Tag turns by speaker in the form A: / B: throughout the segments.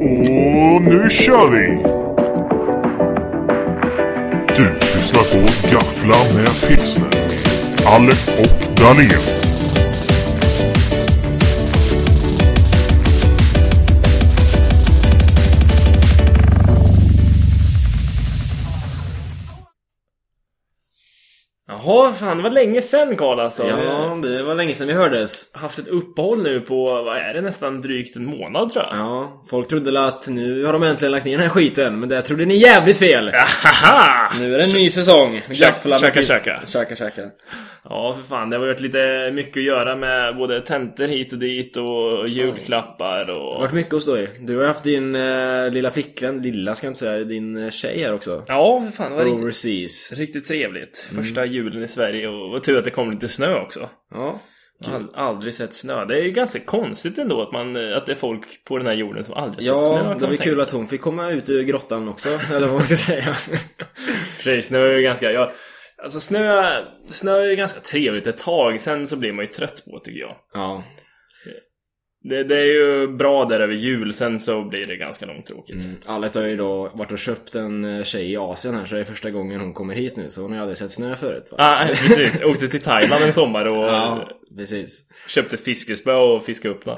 A: Och nu kör vi! Du lyssnar på Gaffla med pilsner. Alec och Dahlén.
B: Jaha, fan det var länge sen Karl alltså.
C: Ja, det var länge sedan vi hördes.
B: haft ett uppehåll nu på, vad är det, nästan drygt en månad tror jag.
C: Ja, folk trodde väl att nu har de äntligen lagt ner den här skiten, men det trodde ni jävligt fel.
B: Ahaha!
C: Nu är det en ny säsong. Gafflar med
B: tjacka,
C: pil-
B: tjacka.
C: Tjacka, tjacka.
B: Ja, för fan. Det har varit lite mycket att göra med både tentor hit och dit och julklappar
C: Det
B: och...
C: har varit mycket att stå i. Du har haft din eh, lilla flickvän, lilla ska jag inte säga, din eh, tjej här också.
B: Ja, för fan. Det var riktigt,
C: Overseas.
B: riktigt trevligt.
C: Mm.
B: Första julen i Sverige och, och tur att det kom lite snö också.
C: Ja.
B: Jag har aldrig sett snö. Det är ju ganska konstigt ändå att, man, att det är folk på den här jorden som aldrig sett snö. kan
C: Ja, det
B: man
C: var
B: tänka
C: kul
B: sig.
C: att hon fick komma ut ur grottan också, eller vad man ska säga.
B: Precis, snö är ju ganska... Jag, alltså snö, snö är ju ganska trevligt ett tag, sen så blir man ju trött på det, tycker jag.
C: Ja.
B: Det, det är ju bra där över jul, sen så blir det ganska långtråkigt.
C: Mm. Allet har ju då varit och köpt en eh, tjej i Asien här så det är första gången hon kommer hit nu så hon har ju aldrig sett snö förut va?
B: Ah, precis. Åkte till Thailand en sommar och
C: Ja, precis.
B: köpte fiskespö och fiskade upp den.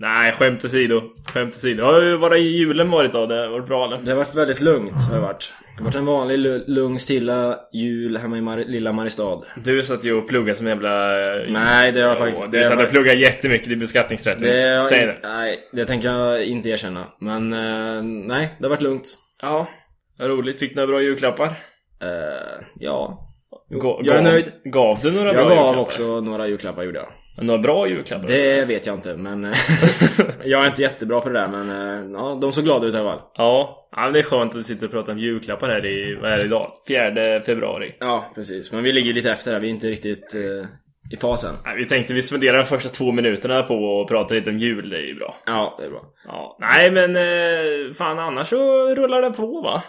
B: Nej, skämt åsido. Skämt åsido. Har ju varit i julen varit då? Det har varit bra eller?
C: Det har varit väldigt lugnt har det varit. Det har varit en vanlig lu- lugn stilla jul hemma i Mar- lilla Mariestad.
B: Du satt ju och pluggade som en jävla...
C: Nej, det har jag faktiskt...
B: Åh, Du
C: det har
B: satt och
C: jag-
B: pluggade jättemycket i beskattningsrätten.
C: det har,
B: Säg det.
C: Nej, det tänker jag inte erkänna. Men eh, nej, det har varit lugnt.
B: Ja. Vad roligt. Fick du några bra julklappar?
C: Eh, ja. Jo,
B: Ga-
C: jag är
B: gav-
C: nöjd.
B: Gav du några
C: Jag
B: bra
C: gav
B: julklappar?
C: också några julklappar gjorde jag.
B: Några bra julklappar?
C: Det vet jag inte men... eh, jag är inte jättebra på det där men eh, ja, de såg glada ut i alla fall.
B: Ja. ja, men det är skönt att vi sitter och pratar om julklappar här i, vad är det idag? 4 februari.
C: Ja, precis. Men vi ligger lite efter här. Vi är inte riktigt eh, i fasen.
B: Nej, vi tänkte vi spenderar de första två minuterna på att prata lite om jul, det är ju bra.
C: Ja, det är bra.
B: Ja, nej men eh, fan annars så rullar det på va?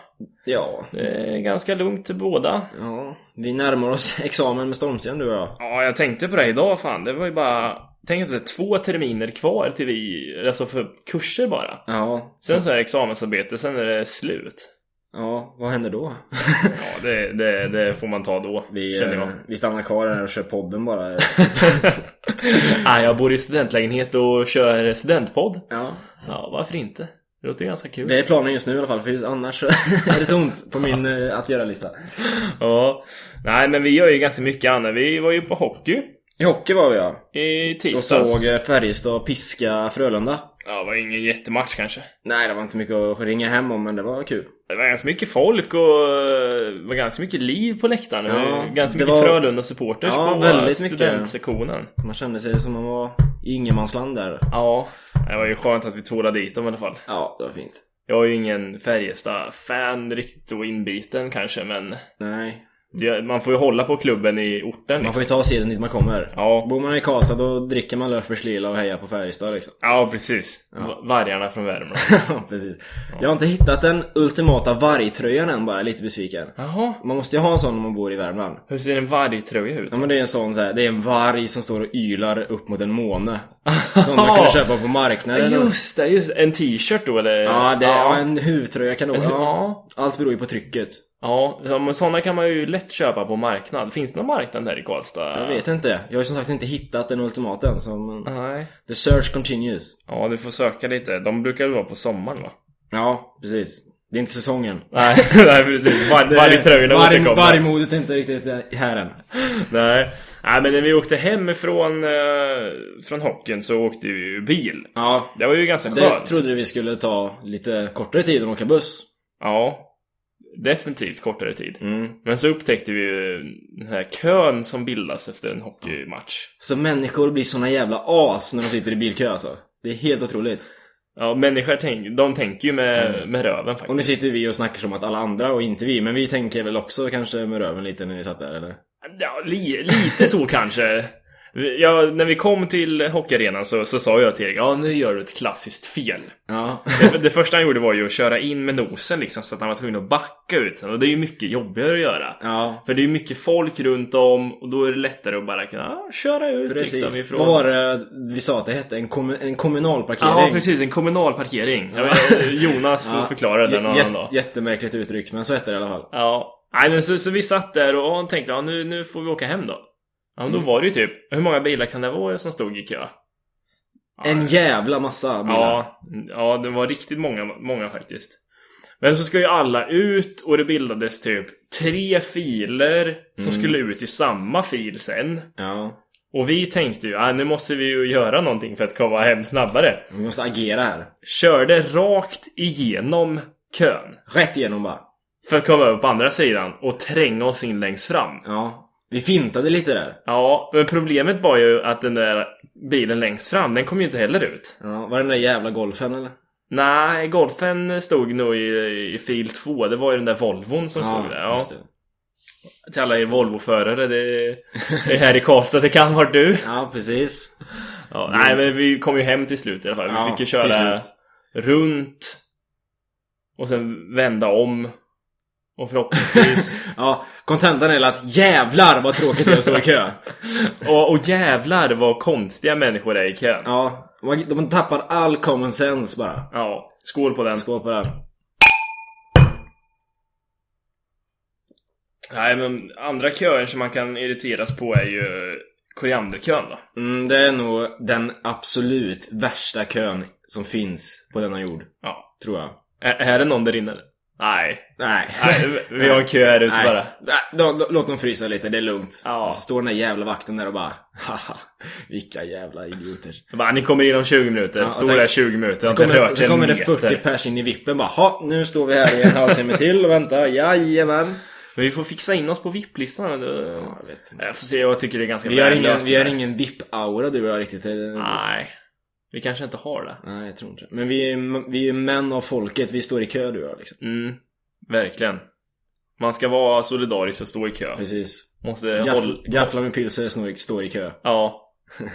C: Ja.
B: Det är ganska lugnt till båda.
C: Ja, vi närmar oss examen med stormstegen du och jag.
B: Ja, jag tänkte på det idag fan. Det var ju bara... Tänk att det är två terminer kvar till vi... Alltså för kurser bara.
C: Ja.
B: Sen så är det examensarbete, sen är det slut.
C: Ja, vad händer då?
B: Ja, det, det, det får man ta då,
C: Vi,
B: känner jag.
C: eh, vi stannar kvar här och kör podden bara.
B: Nej, jag bor i studentlägenhet och kör studentpodd.
C: ja.
B: Ja, varför inte? Det låter ganska kul.
C: Det är planen just nu i alla fall, för just annars så är det tomt på min eh, att göra-lista.
B: Ja, nej men vi gör ju ganska mycket annat. Vi var ju på hockey
C: I hockey var vi ja.
B: i
C: Och
B: tisdags.
C: såg eh, Färjestad piska Frölunda.
B: Ja, det var ingen jättematch kanske.
C: Nej, det var inte mycket att ringa hem om, men det var kul.
B: Det var ganska mycket folk och eh, det var ganska mycket liv på läktaren.
C: Ja,
B: Ja, ganska
C: det
B: mycket
C: var-
B: Frölunda-supporters
C: Ja,
B: på
C: väldigt mycket.
B: studentsektionen.
C: Man kände sig som man var i ingenmansland där.
B: Ja, det var ju skönt att vi tvålade dit dem i alla fall.
C: Ja, det var fint.
B: Jag är ju ingen Färjestad-fan riktigt så inbiten kanske, men
C: Nej.
B: det- man får ju hålla på klubben i orten.
C: Man
B: Liksom.
C: får ju ta seden dit man kommer.
B: Ja,
C: Bor man i Karlstad då dricker man Löfbergs Lila och hejar på Färjestad liksom.
B: ja, precis. Ja. Vargarna från Värmland.
C: Ja, precis. Jag har inte hittat den ultimata vargtröjan än bara, lite besviken.
B: Jaha,
C: Man måste ju ha en sån om man bor i Värmland.
B: hur ser en vargtröja ut?
C: Ja men det är en sån så här, det är en varg som står och ylar upp mot en måne. Som man kunde köpa på marknaden.
B: Just det, just det. En t-shirt då eller?
C: Ja, det, ja.
B: ja.
C: en huvtröja kan det vara. Ja.
B: Ja.
C: Allt beror ju på trycket.
B: Ja, men sådana kan man ju lätt köpa på marknad. Finns det någon marknad här i Karlstad?
C: Jag vet inte. Jag har ju som sagt inte hittat den ultimata än. Så men...
B: Nej.
C: The search continues.
B: Ja, du får söka lite. De brukar väl vara på sommaren va?
C: Ja, precis. Det är inte säsongen.
B: Nej, nej precis. Var, Vargtröjorna återkommer.
C: Vargmodet är inte riktigt eh, här än.
B: Nej. nej, men när vi åkte hem från, eh, från hockeyn så åkte vi ju bil.
C: Ja,
B: Det var ju ganska
C: Det
B: skönt.
C: trodde vi skulle ta lite kortare tid än att åka buss.
B: Ja. Definitivt kortare tid.
C: Mm.
B: Men så upptäckte vi ju den här kön som bildas efter en hockeymatch.
C: Så Alltså, människor blir såna jävla as när de sitter i bilkö alltså. Det är helt otroligt.
B: Ja, människor tänk, de tänker ju med,
C: Mm.
B: med röven
C: Och
B: faktiskt.
C: nu sitter vi och snackar som att alla andra och inte vi, men vi tänker väl också kanske med röven lite när vi satt där eller?
B: Ja, li, lite så kanske. Ja, när vi kom till hockeyarenan så, så sa jag till Erik, ja nu gör du ett klassiskt fel.
C: Ja.
B: Det, det första han gjorde var ju att köra in med nosen liksom så att han var tvungen att backa ut sen. Och det är ju mycket jobbigare att göra.
C: Ja.
B: För det är ju mycket folk runt om och då är det lättare att bara kunna ja, köra ut liksom
C: Precis.
B: ifrån.
C: Vad var det vi sa att det hette? En, kommu- en kommunal parkering?
B: Ja precis, en kommunal parkering. Jag vet, eh, Jonas får
C: Ja.
B: förklara det någon
C: Jä-
B: annan dag.
C: Jättemärkligt uttryck, men så hette det i alla fall.
B: Ja. Nej men så, så vi satt där och han tänkte ja, nu, nu får vi åka hem då. Ja men då
C: Mm.
B: var det ju typ, hur många bilar kan det vara som stod i kö? Ja,
C: En jävla massa bilar.
B: ja, ja, det var riktigt många, många faktiskt. Men så ska ju alla ut och det bildades typ tre filer som
C: Mm.
B: skulle ut i samma fil sen.
C: ja.
B: Och vi tänkte ju, ah, nu måste vi ju göra någonting för att komma hem snabbare.
C: Vi måste agera här.
B: Körde rakt igenom kön.
C: Rätt igenom bara.
B: För att komma över på andra sidan och tränga oss in längst fram.
C: Ja. Vi fintade lite där.
B: Ja, men problemet var ju att den där bilen längst fram, den kom ju inte heller ut.
C: Ja. Var det den där jävla golfen eller?
B: Nej, golfen stod nog i, i fil 2. Det var ju den där Volvon som stod där. Ja.
C: just det.
B: Till alla er Volvo-förare, det det är här i Karlstad det kan vara du.
C: Ja, precis.
B: Ja, nej, men vi kom ju hem till slut i alla fall. Vi
C: Ja,
B: fick ju
C: till
B: köra
C: slut.
B: runt och sen vända om. Och förhoppningsvis...
C: Ja, kontentan är att jävlar vad tråkigt det är att stå i kö.
B: och, och jävlar vad konstiga människor är i kön. Ja.
C: Ja, man- de tappar all common sense bara.
B: skål på den.
C: Skål på den.
B: Nej, men andra köer som man kan irriteras på är ju korianderkön då.
C: Mm, det är nog den absolut värsta kön som finns på denna jord,
B: Ja.
C: tror jag.
B: Är, är det någon där inne eller? Nej.
C: Nej.
B: Nej, vi har en kö här ute
C: Nej.
B: bara.
C: Nej, då, då, låt dem frysa lite, det är lugnt.
B: Ja.
C: Och Så står den där jävla vakten där och bara Haha, vilka jävla idioter.
B: Jag Bara, ni kommer in om 20 minuter.
C: Ja, och
B: Står
C: sen-
B: där 20 minuter.
C: Så
B: har inte
C: kommer,
B: rört
C: så
B: sig
C: kommer
B: en
C: det 40
B: meter.
C: pers in i vippen bara ha, nu står vi här i en halvtimme till och väntar, jajamän.
B: Men vi får fixa in oss på VIP-listan.
C: Ja, jag vet.
B: Jag får se, jag tycker det är ganska
C: Vi har
B: bra
C: ingen, vi
B: lösningar.
C: har ingen VIP-aura du och jag riktigt. Eh,
B: Nej. Vi kanske inte har det.
C: Nej, jag tror inte det. Men vi är, vi är män av folket, vi står i kö du och jag liksom.
B: Mm, verkligen. Man ska vara solidarisk och stå i kö.
C: Precis.
B: Måste hålla...
C: Gaff, gaffla med pilsner, snor, står i kö.
B: Ja.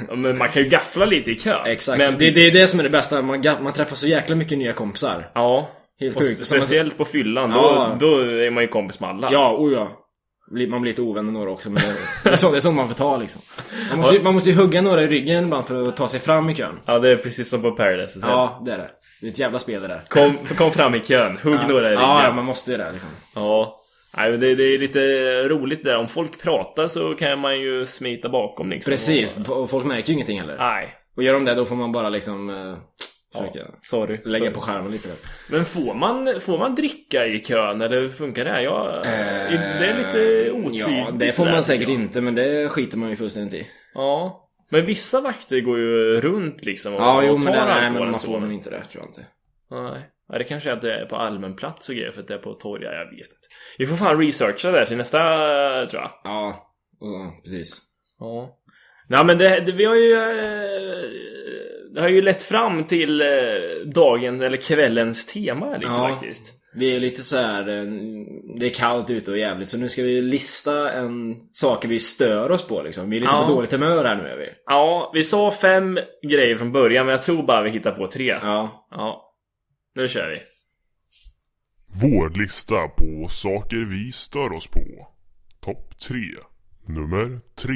B: Ja, Men man kan ju gaffla lite i kö.
C: Exakt.
B: Men...
C: Det, det är det som är det bästa, man, gaff- man träffar så jäkla mycket nya kompisar.
B: Ja.
C: Helt
B: Och
C: sjukt. Som man-
B: speciellt på fyllan,
C: Ja.
B: då, då är man ju kompis med alla.
C: Ja, oh ja. Blir- Man blir lite ovän med några också men det är så- det är sånt man får ta liksom. Man måste, ju, man måste ju hugga några i ryggen ibland för att ta sig fram i kön.
B: Ja, det är precis som på Paradise Hotel.
C: Ja, det är det. Det är ett jävla spel det där.
B: Kom, kom fram i kön, hugg några i
C: Ja, ja,
B: ryggen.
C: man måste ju det liksom.
B: Ja. Nej, men det, det är lite roligt där. Om folk pratar så kan man ju smita bakom liksom. Och,
C: Precis, och folk märker ju ingenting heller.
B: nej.
C: Och gör de det då får man bara liksom eh, försöka
B: Sorry.
C: lägga
B: sorry.
C: på skärmen lite. Där.
B: Men får man, får man dricka i kön eller hur funkar det? Jag, det är lite otydligt.
C: Eh, Ja, det får man
B: där,
C: säkert
B: tycker jag.
C: inte men det skiter man ju fullständigt i.
B: Ja. Men vissa vakter går ju runt liksom och,
C: Ja, jo
B: och
C: men,
B: tar
C: det, nej,
B: alkoholen
C: men man
B: så.
C: får nog inte det tror jag inte.
B: Nej. Ja, det kanske är att det är på allmän plats och grejer för att det är på torg. Ja, jag vet inte. Vi får fan researcha det här till nästa, tror jag.
C: Ja, och, precis.
B: Ja. Nej men det, det, vi har ju... eh, Det har ju lett fram till eh, dagen eller kvällens tema här lite
C: Ja.
B: faktiskt.
C: Vi är lite så här. eh, det är kallt ute och jävligt så nu ska vi lista en saker vi stör oss på liksom. Vi är lite
B: Ja.
C: på dåligt humör här nu är vi.
B: Ja, vi sa fem grejer från början men jag tror bara vi hittar på tre. Ja.
C: Ja.
B: Nu kör vi.
A: Vår lista på saker vi stör oss på. Topp 3. Nummer 3.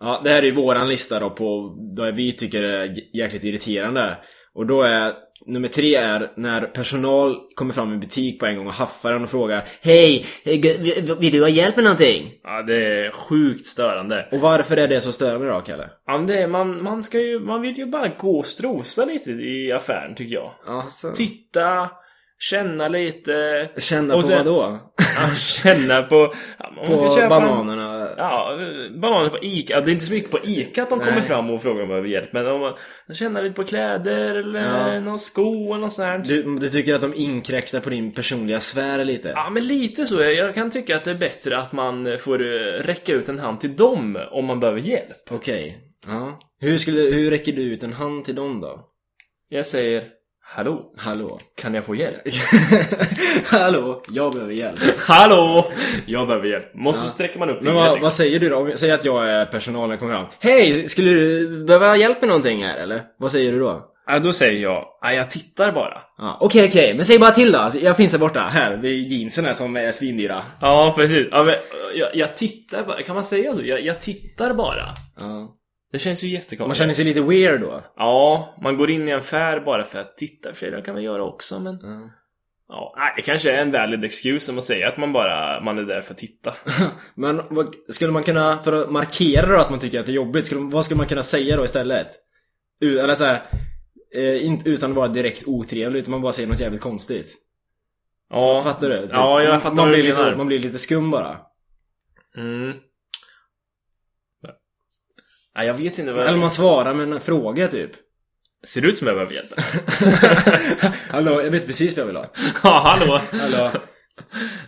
C: ja, det här är ju våran lista då på vad vi tycker är j- jäkligt irriterande. Och då är nummer tre är när personal kommer fram i butik på en gång och haffar en och frågar Hej, eh, g- vill- vill du ha hjälp med någonting?
B: Ja, det är sjukt störande.
C: Och varför är det så störande då Kalle?
B: Ja, men det är, man, man, ska ju, man vill ju bara gå och strosa lite i affären tycker jag.
C: Alltså,
B: Titta, känna lite,
C: känna
B: Och
C: på
B: sen-
C: vadå?
B: ja, känna på... Ja, man
C: På
B: ska köpa en-
C: bananerna?
B: Ja, bananer på Ica. Ja, Det är inte så mycket på Ica att de kommer
C: Nej.
B: fram och frågar om man behöver hjälp. Men om man känner lite på kläder eller
C: Ja.
B: någon sko eller något sånt. här.
C: Du, du tycker att de inkräktar på din personliga sfär lite?
B: Ja, men lite så. Jag kan tycka att det är bättre att man får eh, räcka ut en hand till dem om man behöver hjälp.
C: Okej. Ja. Hur, skulle, hur räcker du ut en hand till dem då?
B: Jag säger Hallå?
C: Hallå?
B: Kan jag få hjälp?
C: Hallå? Jag behöver hjälp.
B: Hallå! Jag behöver hjälp. Måste
C: Ja.
B: sträcka man upp
C: Men
B: fingret
C: vad,
B: liksom.
C: vad säger du då? Om, säg att jag är personalen kommer fram. Hej! Skulle du behöva hjälp med någonting här eller? Vad säger du då?
B: ja, Då säger jag, ja, jag tittar bara.
C: Ja, Okej okej, men säg bara till då. Alltså, Jag finns här borta. Här, vid jeansen här som är svindyra.
B: Ja, precis. Ja, men, jag, jag tittar bara. Kan man säga så? Jag, jag tittar bara.
C: Ja.
B: Det känns ju jättekonstigt.
C: Man känner sig lite weird då.
B: Ja, man går in i en affär bara för att titta. För det kan man göra också, men... Ja, nej, det kanske är en valid excuse om man säger att man bara man är där för att titta.
C: Men vad, skulle man kunna, för att markera då att man tycker att det är jobbigt, skulle, vad skulle man kunna säga då istället? U, eller så här, eh, inte- utan att vara direkt otrevlig, utan man bara säger något jävligt konstigt.
B: Ja,
C: Fattar du? Typ,
B: Ja, jag fattar
C: man
B: vad
C: blir
B: du menar.
C: lite, man blir lite skum bara.
B: Mm. Nej, jag vet inte vad
C: Eller
B: jag...
C: man svarar med en fråga typ.
B: Ser det ut som jag behöver hjälp?
C: Hallå, jag vet precis vad jag vill ha.
B: ja, hallå!
C: Hallå.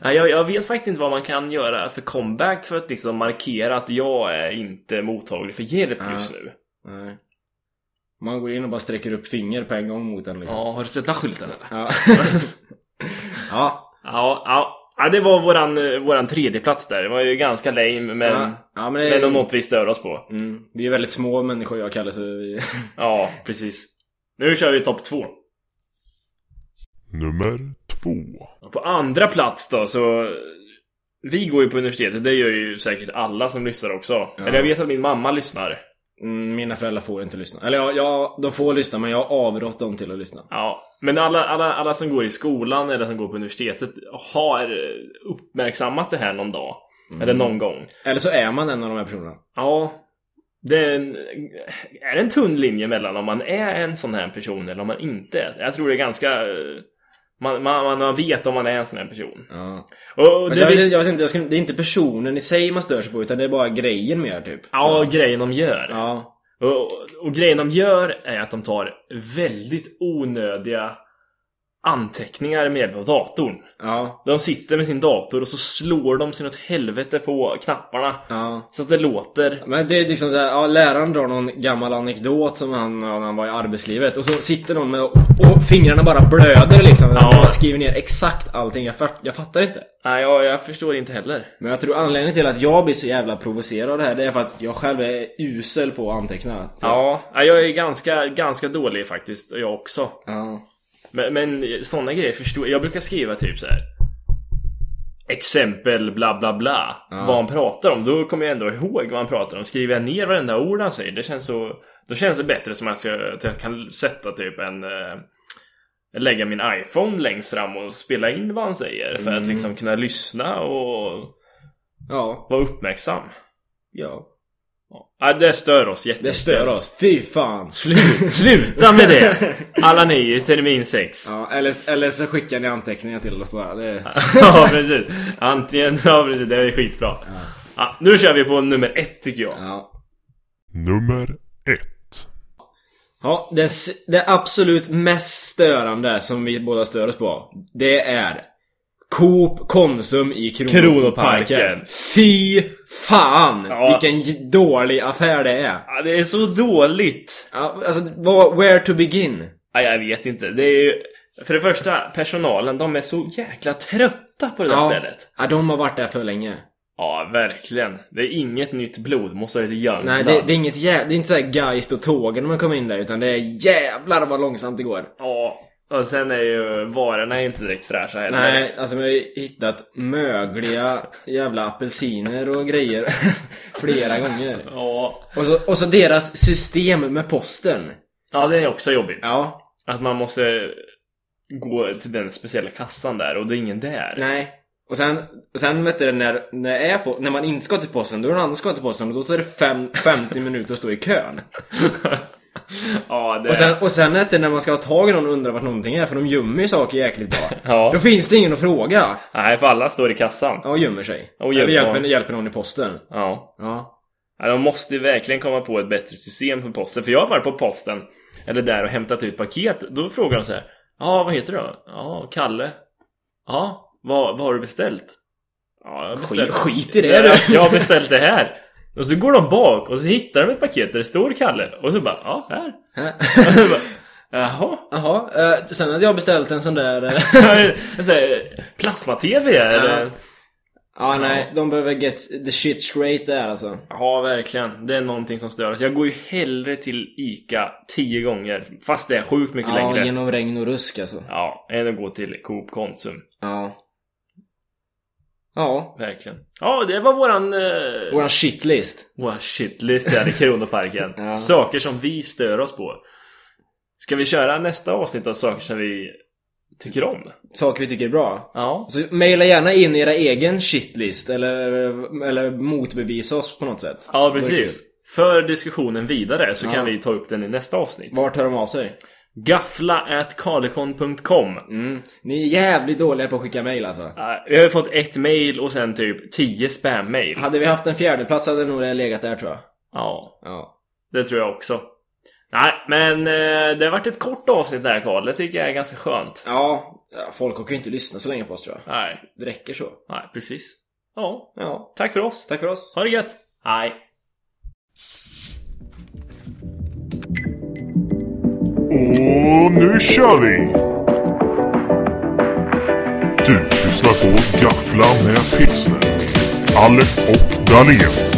B: Nej, jag, jag vet faktiskt inte vad man kan göra för comeback för att liksom markera att jag är inte mottaglig för hjälp
C: Ja.
B: just nu.
C: Nej. Man går in och bara sträcker upp finger på en gång mot den liksom.
B: Ja, har du sett den här skylten eller?
C: Ja. ja.
B: Ja, ja. ja det var våran, eh, våran tredje plats där. Det var ju ganska lame, men,
C: ja. ja Ehm, men det
B: men om
C: är...
B: något vi stör oss på.
C: Mm, vi är väldigt små människor jag kallar så vi...
B: Ja, precis. Nu kör vi topp två.
A: Nummer två.
B: På andra plats då så... Vi går ju på universitetet, det gör ju säkert alla som lyssnar också. Eller jag vet att min mamma lyssnar.
C: Mm, mina föräldrar får inte lyssna. Eller ja, ja, de får lyssna men jag avrått dem till att lyssna.
B: Ja, men alla, alla, alla som går i skolan eller som går på universitetet har eh, uppmärksammat det här någon dag.
C: Mm.
B: Eller någon gång.
C: Eller så är man en av de här personerna.
B: Ja, det är en, är det en tunn linje mellan om man är en sån här person eller om man inte är. Jag tror det är ganska... eh, Man, man, man vet om man är en sån här person.
C: Ja.
B: Och
C: Men
B: det
C: jag,
B: vis-
C: vet, jag vet inte, jag skulle, det är inte personen i sig man stör sig på utan det är bara grejen mer typ.
B: Ja, grejen de gör.
C: Ja.
B: Och, och grejen de gör är att de tar väldigt onödiga anteckningar med hjälp av datorn.
C: Ja.
B: De sitter med sin dator och så slår de sin åt helvete på knapparna.
C: Ja.
B: Så att det låter.
C: Men det är liksom såhär, ja, läraren drar någon gammal anekdot som han, ja, när han var i arbetslivet och så sitter någon med och, och fingrarna bara blöder liksom.
B: Ja.
C: Ja. Bara skriver ner exakt allting. Jag, fatt, jag fattar inte.
B: Nej, jag, jag förstår inte heller.
C: Men jag tror anledningen till att jag blir så jävla provocerad av det här det är för att jag själv är usel på att anteckna.
B: Ja, nej, jag är ganska, ganska dålig faktiskt. och Jag också.
C: Ja.
B: Men, men sådana grejer förstår jag. brukar skriva typ så här. Exempel bla bla bla. Vad han pratar om. Då kommer jag ändå ihåg vad han pratar om. Skriver jag ner varenda ord han säger. Det känns så... Då känns det bättre som att jag, ska, att jag kan sätta typ en... eh, Lägga min iPhone längst fram och spela in vad han säger. För
C: Mm.
B: att liksom kunna lyssna och
C: Ja.
B: vara uppmärksam.
C: ja.
B: Ja, det stör oss jättemycket.
C: Det stör oss. Fy fan.
B: Slu- sluta med det! Alla ni i termin 6.
C: Ja, eller, eller så skickar ni anteckningar till oss bara. Det,
B: ja precis. Antingen, ja precis, det är skitbra. Ja. nu kör vi på nummer ett tycker jag.
C: ja.
A: Nummer ett.
C: Ja, det, s- det absolut mest störande som vi båda stör oss på. Det är Coop Konsum i Kron-
B: Kronoparken.
C: Parken. Fy fan!
B: Ja.
C: Vilken j- dålig affär det är.
B: Ja, det är så dåligt.
C: Ja, alltså, vad- where to begin?
B: Ja, jag vet inte. Det är ju, för det första, personalen, de är så jäkla trötta på det där
C: Ja.
B: stället.
C: Ja, de har varit där för länge.
B: Ja, verkligen. Det är inget nytt blod, måste ha lite young
C: Nej, det, det är inget jä- Det är inte såhär Geist och tågen när man kommer in där, utan det är jävlar vad långsamt det går.
B: Ja, och sen är ju varorna inte direkt fräscha heller.
C: Nej, alltså vi har ju hittat mögliga jävla apelsiner och grejer flera gånger.
B: Ja.
C: Och så, och så deras system med posten.
B: ja, det är också jobbigt.
C: Ja,
B: Att man måste gå till den speciella kassan där och det är ingen där.
C: nej. Och sen, och sen vet du när, när, det är, folk- när man inte ska till posten, då är det någon annan som ska till posten och då tar det fem, 50 minuter att stå i kön.
B: ja, det...
C: Och sen, och sen vet du, när man ska ha tag i någon och undra vart någonting är, för de gömmer ju saker jäkligt bra.
B: Ja.
C: Då finns det ingen att fråga.
B: Nej, för alla står i kassan.
C: Ja, och gömmer sig.
B: Och gömmer-
C: Eller hjälper, hjälper någon i posten.
B: Ja.
C: Ja.
B: ja. De måste ju verkligen komma på ett bättre system för posten. För jag har varit på posten, eller där och hämtat ut paket. Då frågar de så här. Ja, vad heter du då? Ja, Kalle. Ja, vad, vad har du beställt? Ja, jag har beställt...
C: Skit, skit i det du.
B: Jag har beställt det här. Och så går de bak och så hittar de ett paket där det står Kalle. Och så bara, ja, här.
C: Hä?
B: Och så bara, Jaha.
C: Jaha, eh, sen hade jag beställt en sån där... eh,
B: Jag säger, Plasma-TV eller?
C: ja, nej. De behöver get the shit straight där alltså.
B: Ja, verkligen. Det är någonting som stör oss. Jag går ju hellre till ICA tio gånger. Fast det är sjukt mycket
C: Ja,
B: längre.
C: genom regn och rusk alltså.
B: Ja, än att gå till Coop Konsum.
C: Ja. Ja.
B: Verkligen. Ja, det var våran... Eh,
C: Våran shitlist.
B: våran shitlist här i Kronoparken.
C: Ja.
B: Saker som vi stör oss på. Ska vi köra nästa avsnitt av saker som vi tycker om?
C: Saker vi tycker är bra.
B: Ja.
C: Så mejla gärna in era egen shitlist eller, eller motbevisa oss på något sätt.
B: Ja,
C: Det vore
B: precis.
C: kul.
B: För diskussionen vidare så
C: Ja.
B: kan vi ta upp den i nästa avsnitt.
C: Vart hör de av sig?
B: Gaffla at carlecon.com
C: Mm. Ni är jävligt dåliga på att skicka mejl alltså.
B: Eh, Vi har ju fått ett mail och sen typ 10 spam-mail.
C: Hade vi haft en fjärde plats hade nog det legat där tror jag.
B: Ja,
C: Ja.
B: det tror jag också. Nej, men eh, det har varit ett kort avsnitt där Karl. Det tycker jag är ganska skönt.
C: Ja, folk orkar ju inte lyssna så länge på oss tror jag.
B: Nej,
C: Det räcker så.
B: nej precis. Ja,
C: Ja.
B: tack för oss.
C: Tack för oss.
B: Ha det gött! Hej!
A: Och nu kör vi! Du lyssnar på Gaffla med pilsner. Alec och Dahlén.